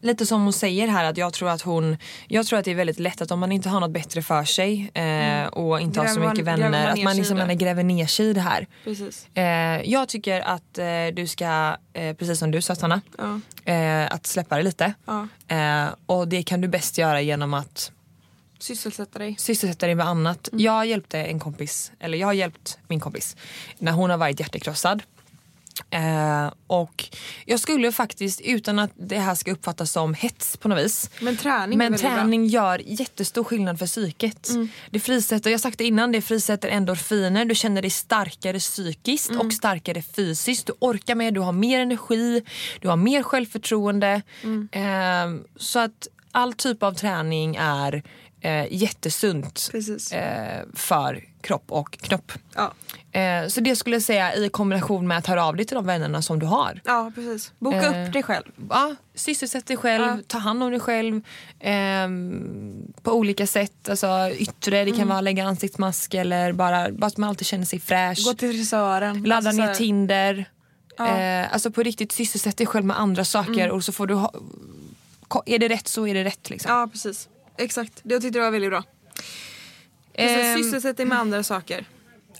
Lite som hon säger här att jag tror att hon, jag tror att det är väldigt lätt att om man inte har något bättre för sig eh, och inte har så Mm. Gräver man- mycket gräver man vänner att ner man sig liksom i det. gräver ner sig i det här. Precis. Eh, jag tycker att eh, du ska, eh, precis som du sa Sanna, Ja. eh, att släppa det lite. Ja. Eh, och det kan du bäst göra genom att Sysselsätta dig. sysselsätta dig med annat. Jag hjälpte en kompis, eller jag har hjälpt min kompis när hon har varit hjärtekrossad. Eh, och jag skulle faktiskt, utan att det här ska uppfattas som hets på något vis, Men träning är men väldigt bra. Mm. träning gör jättestor skillnad för psyket. Det frisätter, jag har sagt det innan, det frisätter endorfiner. Du känner dig starkare psykiskt Mm. och starkare fysiskt. Du orkar mer, du har mer energi, du har mer självförtroende. Mm. Ehm, så att all typ av träning är eh, jättesunt Precis. eh, för kropp och knopp. Ja. Eh, så det skulle jag säga i kombination med att höra av dig till de vännerna som du har ja, precis. Boka Eh. upp dig själv. ja, sysselsätt dig själv, Ja. ta hand om dig själv ehm, på olika sätt. Alltså, yttre, det kan Mm. vara lägga ansiktsmask eller bara, bara att man alltid känner sig fräsch. Gå till frisören. Ladda Alltså, så ner här- Tinder. Ja. Mm. Eh, alltså på riktigt sysselsätt dig själv med andra saker och så får du ha, ko- är det rätt så är det rätt. Liksom. Ja, precis. Exakt. Det tyckte jag var väldigt bra. Ehm, Precis, Sysselsätt dig med andra saker.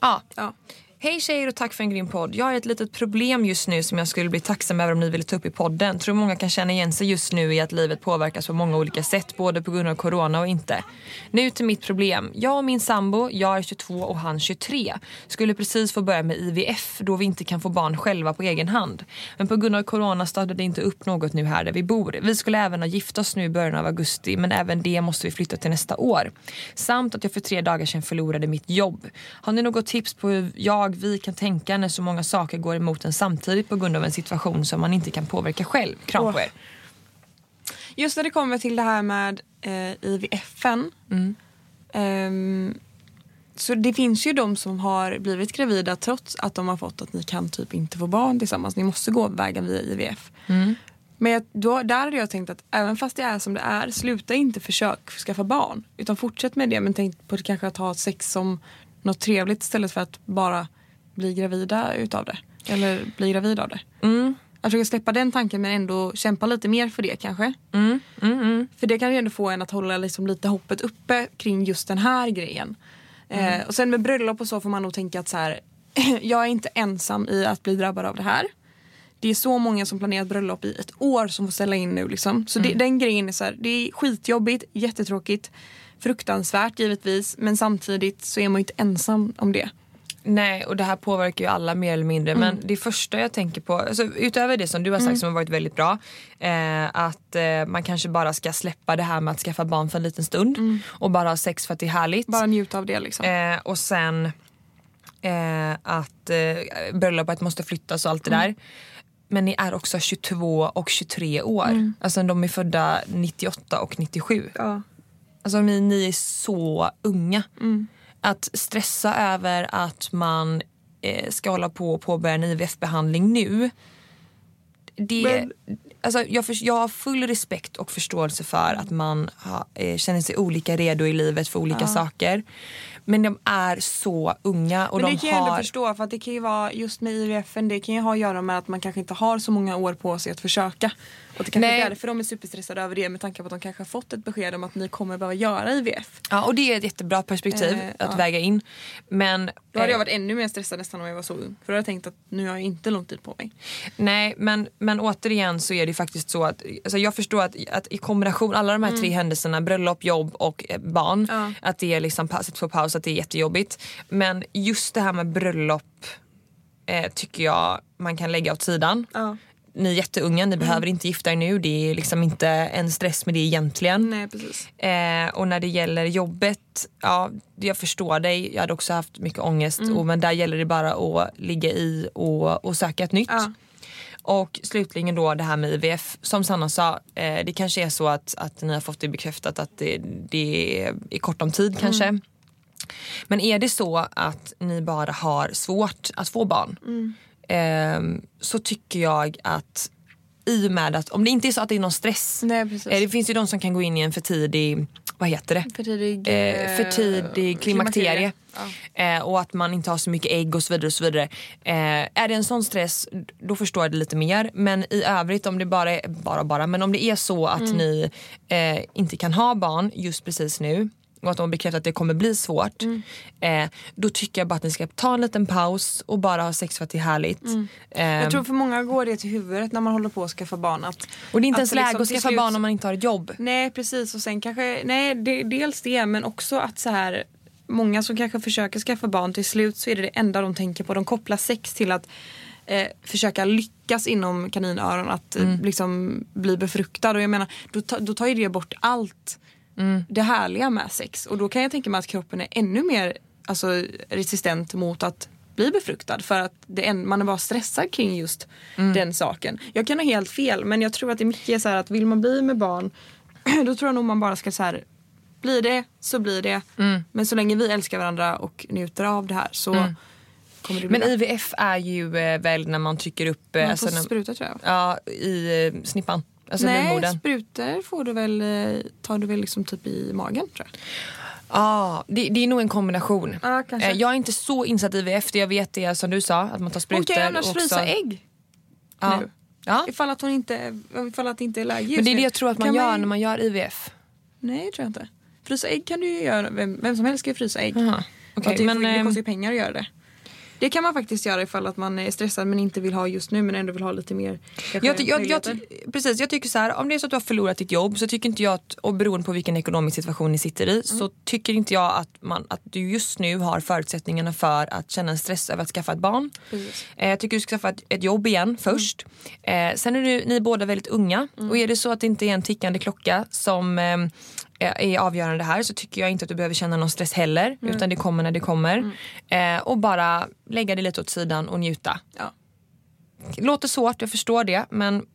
ja. Ja. Hej tjejer och tack för en grym podd. Jag har ett litet problem just nu som jag skulle bli tacksam över om ni ville ta upp i podden. Tror många kan känna igen sig just nu i att livet påverkas på många olika sätt, både på grund av corona och inte. Nu till mitt problem. Jag och min sambo, jag är 22 och han 23, skulle precis få börja med IVF då vi inte kan få barn själva på egen hand. Men på grund av corona startade det inte upp något nu här där vi bor. Vi skulle även ha gift oss nu i början av augusti men även det måste vi flytta till nästa år. Samt att jag för tre dagar sedan förlorade mitt jobb. Har ni något tips på hur jag, vi kan tänka när så många saker går emot en samtidigt på grund av en situation som man inte kan påverka själv? Kram på er. Just när det kommer till det här med eh, IVFen. Ehm, så det finns ju de som har blivit gravida trots att de har fått att ni kan typ inte få barn tillsammans. Ni måste gå vägen via IVF. Men jag, då, där hade jag tänkt att även fast det är som det är, sluta inte försök skaffa barn. Utan fortsätt med det men tänk på att kanske att ha sex som något trevligt istället för att bara bli gravida utav det. Eller bli gravid av det. Att försöka släppa den tanken men ändå kämpa lite mer för det kanske. För det kan ju ändå få en att hålla liksom lite hoppet uppe kring just den här grejen. Eh, och sen med bröllop och så får man nog tänka att så här, jag är inte ensam i att bli drabbad av det här. Det är så många som planerat bröllop i ett år som får ställa in nu. Liksom. Så det, den grejen är så här, det är skitjobbigt, jättetråkigt, fruktansvärt givetvis. Men samtidigt så är man ju inte ensam om det. Nej, och det här påverkar ju alla mer eller mindre. Men det första jag tänker på, alltså, utöver det som du har sagt som har varit väldigt bra, eh, att eh, man kanske bara ska släppa det här med att skaffa barn för en liten stund och bara ha sex för att det är härligt. Bara njuta av det liksom. Eh, och sen eh, att eh, bröllopet måste flyttas och allt det där. Men ni är också 22 och 23 år. Alltså de är födda 98 och 97. Ja. Alltså ni, ni är så unga. Mm. Att stressa över att man eh, ska hålla på och påbörja en IVF-behandling nu. Det, Men- alltså, jag, för, jag har full respekt och förståelse för att man ha, eh, känner sig olika redo i livet för olika saker. Men de är så unga och Men de det kan jag ändå har... förstå för att det kan ju vara just med IVFen det kan ju ha att göra med att man kanske inte har så många år på sig att försöka. Och det kanske Nej. är därför de är superstressade över det med tanke på att de kanske har fått ett besked om att ni kommer behöva göra IVF. Ja, och det är ett jättebra perspektiv Eh, att ja. väga in. Men, Då hade eh, jag varit ännu mer stressad nästan om jag var så ung. För då hade jag tänkt att nu har jag inte lång tid på mig. Nej, men, men återigen så är det faktiskt så att alltså jag förstår att, att i kombination alla de här tre händelserna, bröllop, jobb och eh, barn, Mm. Ja. att det är liksom passet på paus, att det är jättejobbigt. Men just det här med bröllop eh, tycker jag man kan lägga åt sidan. Ja. Mm. Ni är jätteunga, ni behöver inte gifta er nu. Det är liksom inte en stress med det egentligen. Nej precis. Eh, och när det gäller jobbet, ja jag förstår dig. Jag hade också haft mycket ångest. Och, men där gäller det bara att ligga i och, och söka ett nytt. Ja. Och slutligen då det här med IVF. Som Sanna sa, eh, det kanske är så att, att ni har fått det bekräftat att det, det är i kort om tid kanske. Men är det så att ni bara har svårt att få barn ehm, så tycker jag att i och med att om det inte är så att det är någon stress. Nej precis. Eh, Det finns ju de som kan gå in i en för tidig, vad heter det? för tidig, Eh, för tidig klimakterie. Eh, och att man inte har så mycket ägg och så vidare. Och så vidare. Eh, är det en sån stress då förstår jag det lite mer. Men i övrigt om det bara är, bara, bara, men om det är så att Mm. ni eh, inte kan ha barn just precis nu och att de har bekräftat att det kommer bli svårt. Mm. Eh, då tycker jag bara att ni ska ta en liten paus och bara ha sex för att det är härligt. Eh, Mm. Jag tror för många går det till huvudet när man håller på att skaffa barn. Att, och det är inte att ens läge liksom att till skaffa slut- barn om man inte har ett jobb. Nej precis och sen kanske, nej det, dels det men också att så här Många som kanske försöker skaffa barn till slut så är det det enda de tänker på. De kopplar sex till att eh, försöka lyckas inom kaninöron att eh, liksom bli befruktad. Och jag menar, då, ta, då tar ju det bort allt det härliga med sex. Och då kan jag tänka mig att kroppen är ännu mer alltså, resistent mot att bli befruktad för att det en, man är bara stressad kring just den saken. Jag kan ha helt fel men jag tror att det är mycket så här att vill man bli med barn då tror jag nog man bara ska så här blir det så blir det. Mm. Men så länge vi älskar varandra och njuter av det här så kommer det bli Men bra. IVF är ju eh, väl när man trycker upp... eh, Man alltså får när- spruta tror jag. Ja, i eh, snippan. Alltså Nej, livmodern. sprutor får du väl, eh, tar du väl liksom typ i magen tror jag. Ja, det, det är nog en kombination. Ja, kanske. Eh, Jag är inte så insatt i IVF. Det jag vet är som du sa, att man tar sprutor. Hon kan ju annars och också- frysa ägg. Ja. nu. ja. Ifall att hon inte, ifall att det inte är läge Men just det är nu. det jag tror att man Kan gör när man gör IVF. Nej tror jag inte. Frysa ägg kan du ju göra, vem, vem som helst kan ju frysa ägg. Jaha, Och okej, att det, men, får- det ehm, kostar ju pengar att göra det. Det kan man faktiskt göra ifall att man är stressad men inte vill ha just nu men ändå vill ha lite mer kanske, Jag, ty- jag, jag, möjligheter. ty- precis, jag tycker så här, om det är så att du har förlorat ditt jobb så tycker inte jag att, och beroende på vilken ekonomisk situation ni sitter i, så tycker inte jag att, man, att du just nu har förutsättningarna för att känna en stress över att skaffa ett barn. Eh, jag tycker du ska skaffa ett, ett jobb igen först. Eh, sen är du, ni är båda väldigt unga och är det så att det inte är en tickande klocka som ehm, är är avgörande här så tycker jag inte att du behöver känna någon stress heller utan det kommer när det kommer. Eh, och bara lägga det lite åt sidan och njuta. Ja. Låter svårt, jag förstår det men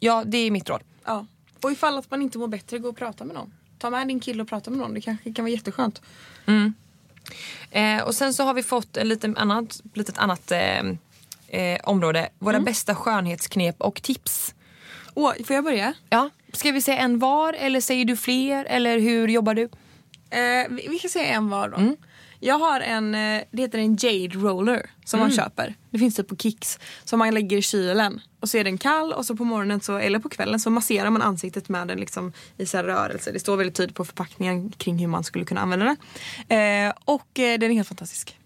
ja, det är mitt råd. Ja. Och ifall att man inte mår bättre, gå och prata med någon. Ta med din kille och prata med någon. Det kanske kan vara jätteskönt. Eh, och sen så har vi fått ett litet annat, litet annat eh, eh, område. Våra bästa skönhetsknep och tips. Åh, får jag börja? Ja. Ska vi säga en var eller säger du fler eller hur jobbar du? Eh, vi, vi kan säga en var då. Mm. Jag har en, eh, det heter en jade roller som Mm. man köper. Det finns det på Kicks. Som man lägger i kylen. Och så är den kall och så på morgonen så, eller på kvällen så masserar man ansiktet med den liksom i så här rörelse. Det står väldigt tydligt på förpackningen kring hur man skulle kunna använda den. Eh, och eh, den är helt fantastisk.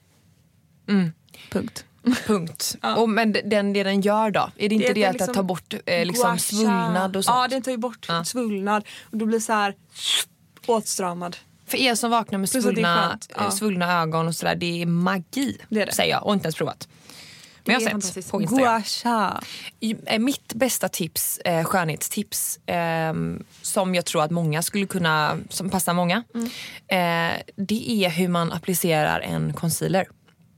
Mm. Punkt. Punkt. Och, men d- den, det den gör då? Är det inte det, heter att ta bort eh, liksom gua sha. svullnad och sånt? Ja, den tar ju bort svullnad. Och då blir så här åtstramad. För er som vaknar med Plus att det är svullna, skönt, ja. eh, svullna ögon och sådär, det är magi Det är det. säger jag och inte ens provat. Men Det är jag har sett fantastiskt. på Instagram. Gua sha. I- eh, Mitt bästa tips, eh, skönhetstips ehm, som jag tror att många skulle kunna, som passar många Mm. eh, det är hur man applicerar en concealer.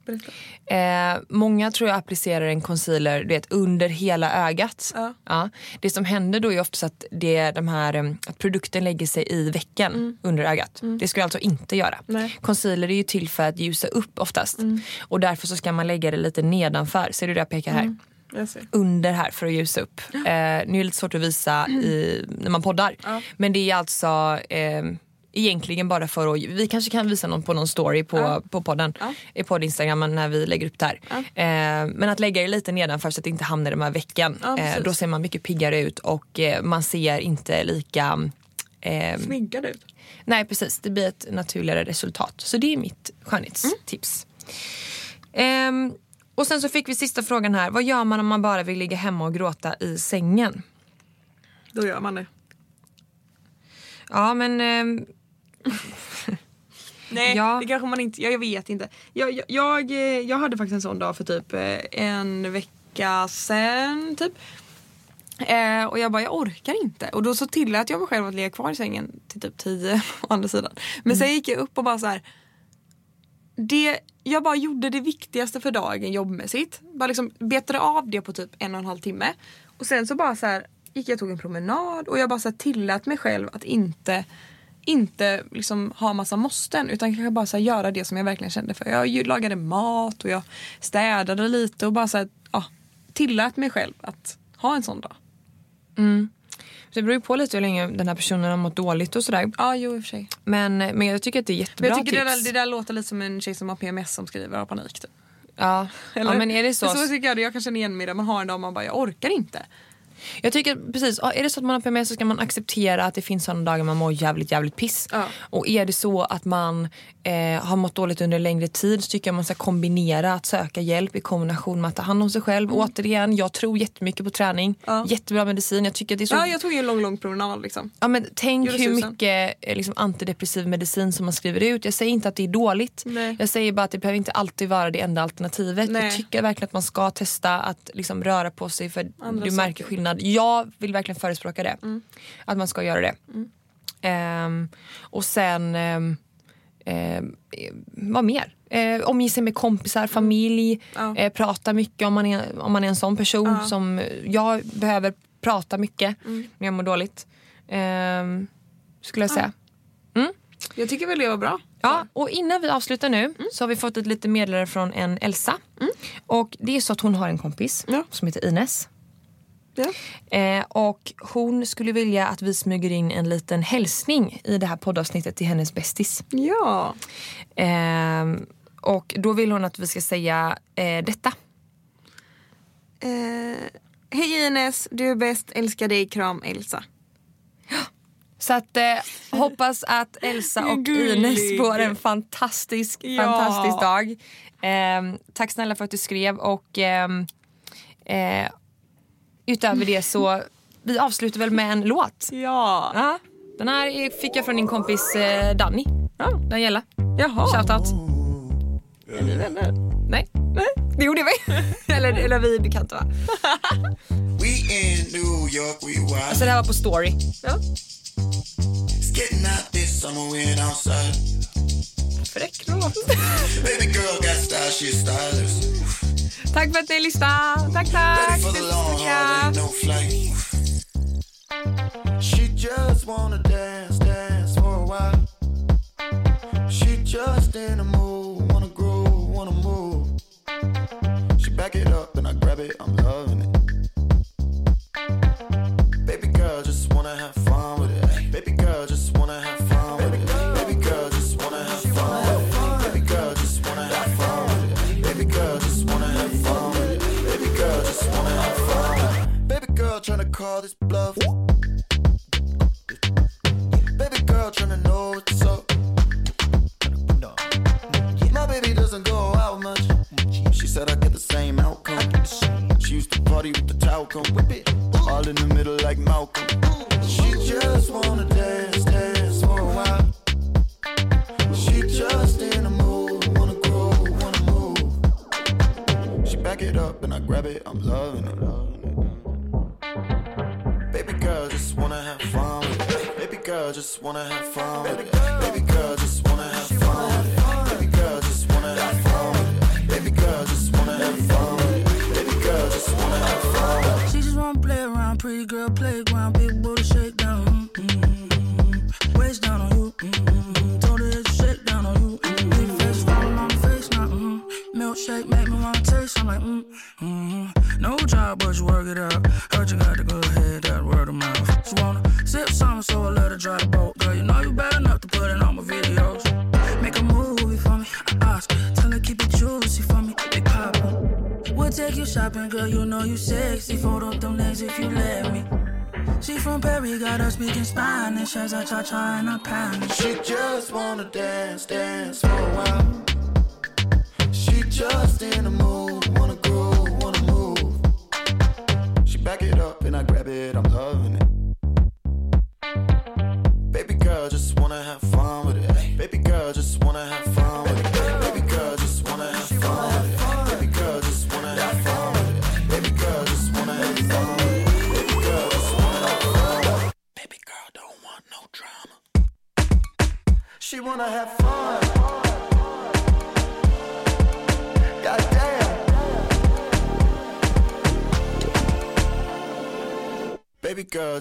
Berätta. Eh, många tror jag applicerar en concealer du vet, under hela ögat. Ja. Det som händer då är oftast att, det, de här, eh, att produkten lägger sig i vecken under ögat. Det ska du alltså inte göra. Mm. Nej. Mm. Concealer är ju till för att ljusa upp oftast. Och därför så ska man lägga det lite nedanför. Ser du det jag pekar här? Mm. Jag ser. under här för att ljusa upp. Eh, nu är det lite svårt att visa i, när man poddar. Men det är alltså eh, egentligen bara för att... Vi kanske kan visa någon på någon story på, på podden. I podd Instagram när vi lägger upp det här. Eh, men att lägga det lite nedanför så att det inte hamnar i de här veckan. Ja, precis. eh, då ser man mycket piggare ut och eh, man ser inte lika... Eh, Sminkad ut. nej precis, det blir ett naturligare resultat. Så det är mitt skönhetstips. Ehm, och sen så fick vi sista frågan här. Vad gör man om man bara vill ligga hemma och gråta i sängen? Då gör man det. Ja men ehm, Nej, Ja. det kanske man inte... Jag, jag vet inte. Jag, jag, jag, eh, jag hade faktiskt en sån dag för typ eh, en vecka sen, typ. Eh, och jag bara, jag orkar inte. Och då så tillät jag mig själv att ligga kvar i sängen till typ tio å andra sidan. Men sen gick jag upp och bara så här. Det, jag bara gjorde det viktigaste för dagen jobbmässigt. Bara liksom betade av det på typ en och en halv timme. Och sen så bara så här, gick jag och tog en promenad och jag bara så här, tillät mig själv att inte inte liksom ha massa måsten utan kanske bara så här, göra det som jag verkligen kände för. Jag ju- lagade mat och jag städade lite och bara så här, ja, tillät mig själv att ha en sån dag. det beror ju på lite hur länge den här personen har mått dåligt och sådär. Ja, jo i och för sig. Men, men jag tycker att det är Men jättebra jag tycker det tips. där, det där låter lite som en tjej som har PMS som skriver av panik. Typ. ja. ja men är det så? Så tycker jag det. Jag kan känna igen mig där. Man har en dag man bara, jag orkar inte. Jag tycker precis, ja, är det så att man har PMS så ska man acceptera att det finns sådana dagar man mår jävligt jävligt piss. Ja. Och är det så att man eh, har mått dåligt under en längre tid så tycker jag man ska kombinera att söka hjälp i kombination med att ta hand om sig själv. Återigen, jag tror jättemycket på träning. Mm. Ja. Jättebra medicin. Jag tycker att det är så Ja, jag tog ju en lång, lång promenad liksom. Ja, men tänk Gjorde hur susen. mycket eh, liksom, antidepressiv medicin som man skriver ut. Jag säger inte att det är dåligt. Nej. Jag säger bara att det behöver inte alltid vara det enda alternativet. Nej. Jag tycker verkligen att man ska testa att liksom, röra på sig för Andra Mm. du märker skillnad. Jag vill verkligen förespråka det. Att man ska göra det. Ehm, och sen, ehm, ehm, eh, vad mer? Eh, omge sig med kompisar, familj, Ja. eh, prata mycket om man är, om man är en sån person som eh, jag behöver prata mycket Mm. när jag mår dåligt. Ehm, skulle jag säga. Jag tycker väl det var bra. Ja, och innan vi avslutar Mm. nu så har vi fått ett litet meddelande från en Elsa. Och det är så att hon har en kompis Ja. som heter Ines. Ja. Eh, och hon skulle vilja att vi smyger in en liten hälsning i det här poddavsnittet till hennes bästis. ja. Ehm, och då vill hon att vi ska säga eh, detta. Eh, Hej Ines, du är bäst, älskar dig, kram Elsa. Så att, eh, hoppas att Elsa och Gullig. Ines får en fantastisk, Ja. fantastisk dag. Ehm, tack snälla för att du skrev och ehm, eh, utöver det så vi avslutar väl med en låt. Ja. Ja, den här är- fick jag från din kompis eh, Danny. Ja, Daniela. Jaha. Shoutout. Nej. Nej. Det gjorde vi. eller, eller vi bekanta va? We in New York, we wild. Så det här var på story. Ja. It's getting out this summer, we're outside. Fräck låt. Baby girl got style, she's stylish. tack för att ni lyssnade. Tack, tack. Ready for the long haul, ain't no flight. She just wanna dance, dance for a while. She just in a mood, wanna groove, wanna move. She back it up and I grab it, I'm loving it. Baby girl, just wanna have fun with it. Baby girl, just wanna have fun with it. Baby girl, just wanna have fun with it. Baby girl, just wanna have fun with it. Baby girl, just wanna have fun with it. Baby girl, just wanna have fun. with it. Baby girl, tryna call this bluff. Baby girl, tryna know what's up. My baby doesn't go out much. She said I get the same outcome. She used to party with the talcum. Whip it. All in the middle like Malcolm. She just wanna dance, dance for a while. She just in a mood, wanna grow, wanna move. She back it up and I grab it, I'm loving it. Baby girl, just wanna have fun with it. Baby girl, just wanna have fun with it. Baby girl, just wanna have fun with it. Baby girl, just wanna have fun with it. Baby girl, just wanna have fun with it. Baby girl, just wanna have fun with it. She just wanna play around, pretty girl playground, big booty shakedown. Mm-hmm. Waist down on you, mm-hmm. told her it's a shakedown on you. mm Big face falling on my face now, mm milkshake make me wanna taste. I'm like, mm-hmm. no job but you work it out. Heard you got the good head, that word of mouth. She wanna sip something, so I let her dry the boat. Girl, you know you bad enough to put it on my videos. Make a movie for me, I ask. Tell her keep it juicy for me, big papa. We'll take you shopping, girl. You know you sexy. Photo them legs if you let me. She from Perry, got her speaking Spanish as I cha cha and I panic. She just wanna dance, dance for a while. She just in a mood, wanna groove, wanna move. She back it up and I grab it, I'm loving it. Baby girl, just wanna have fun with it. Baby girl, just wanna have fun with it. Baby girl, just wanna have fun with it. Baby girl, just wanna have fun with it. Baby girl, just wanna have fun with it. Baby girl, just wanna have fun. Baby girl, don't want no drama. She wanna have fun. Goddamn. Baby girl,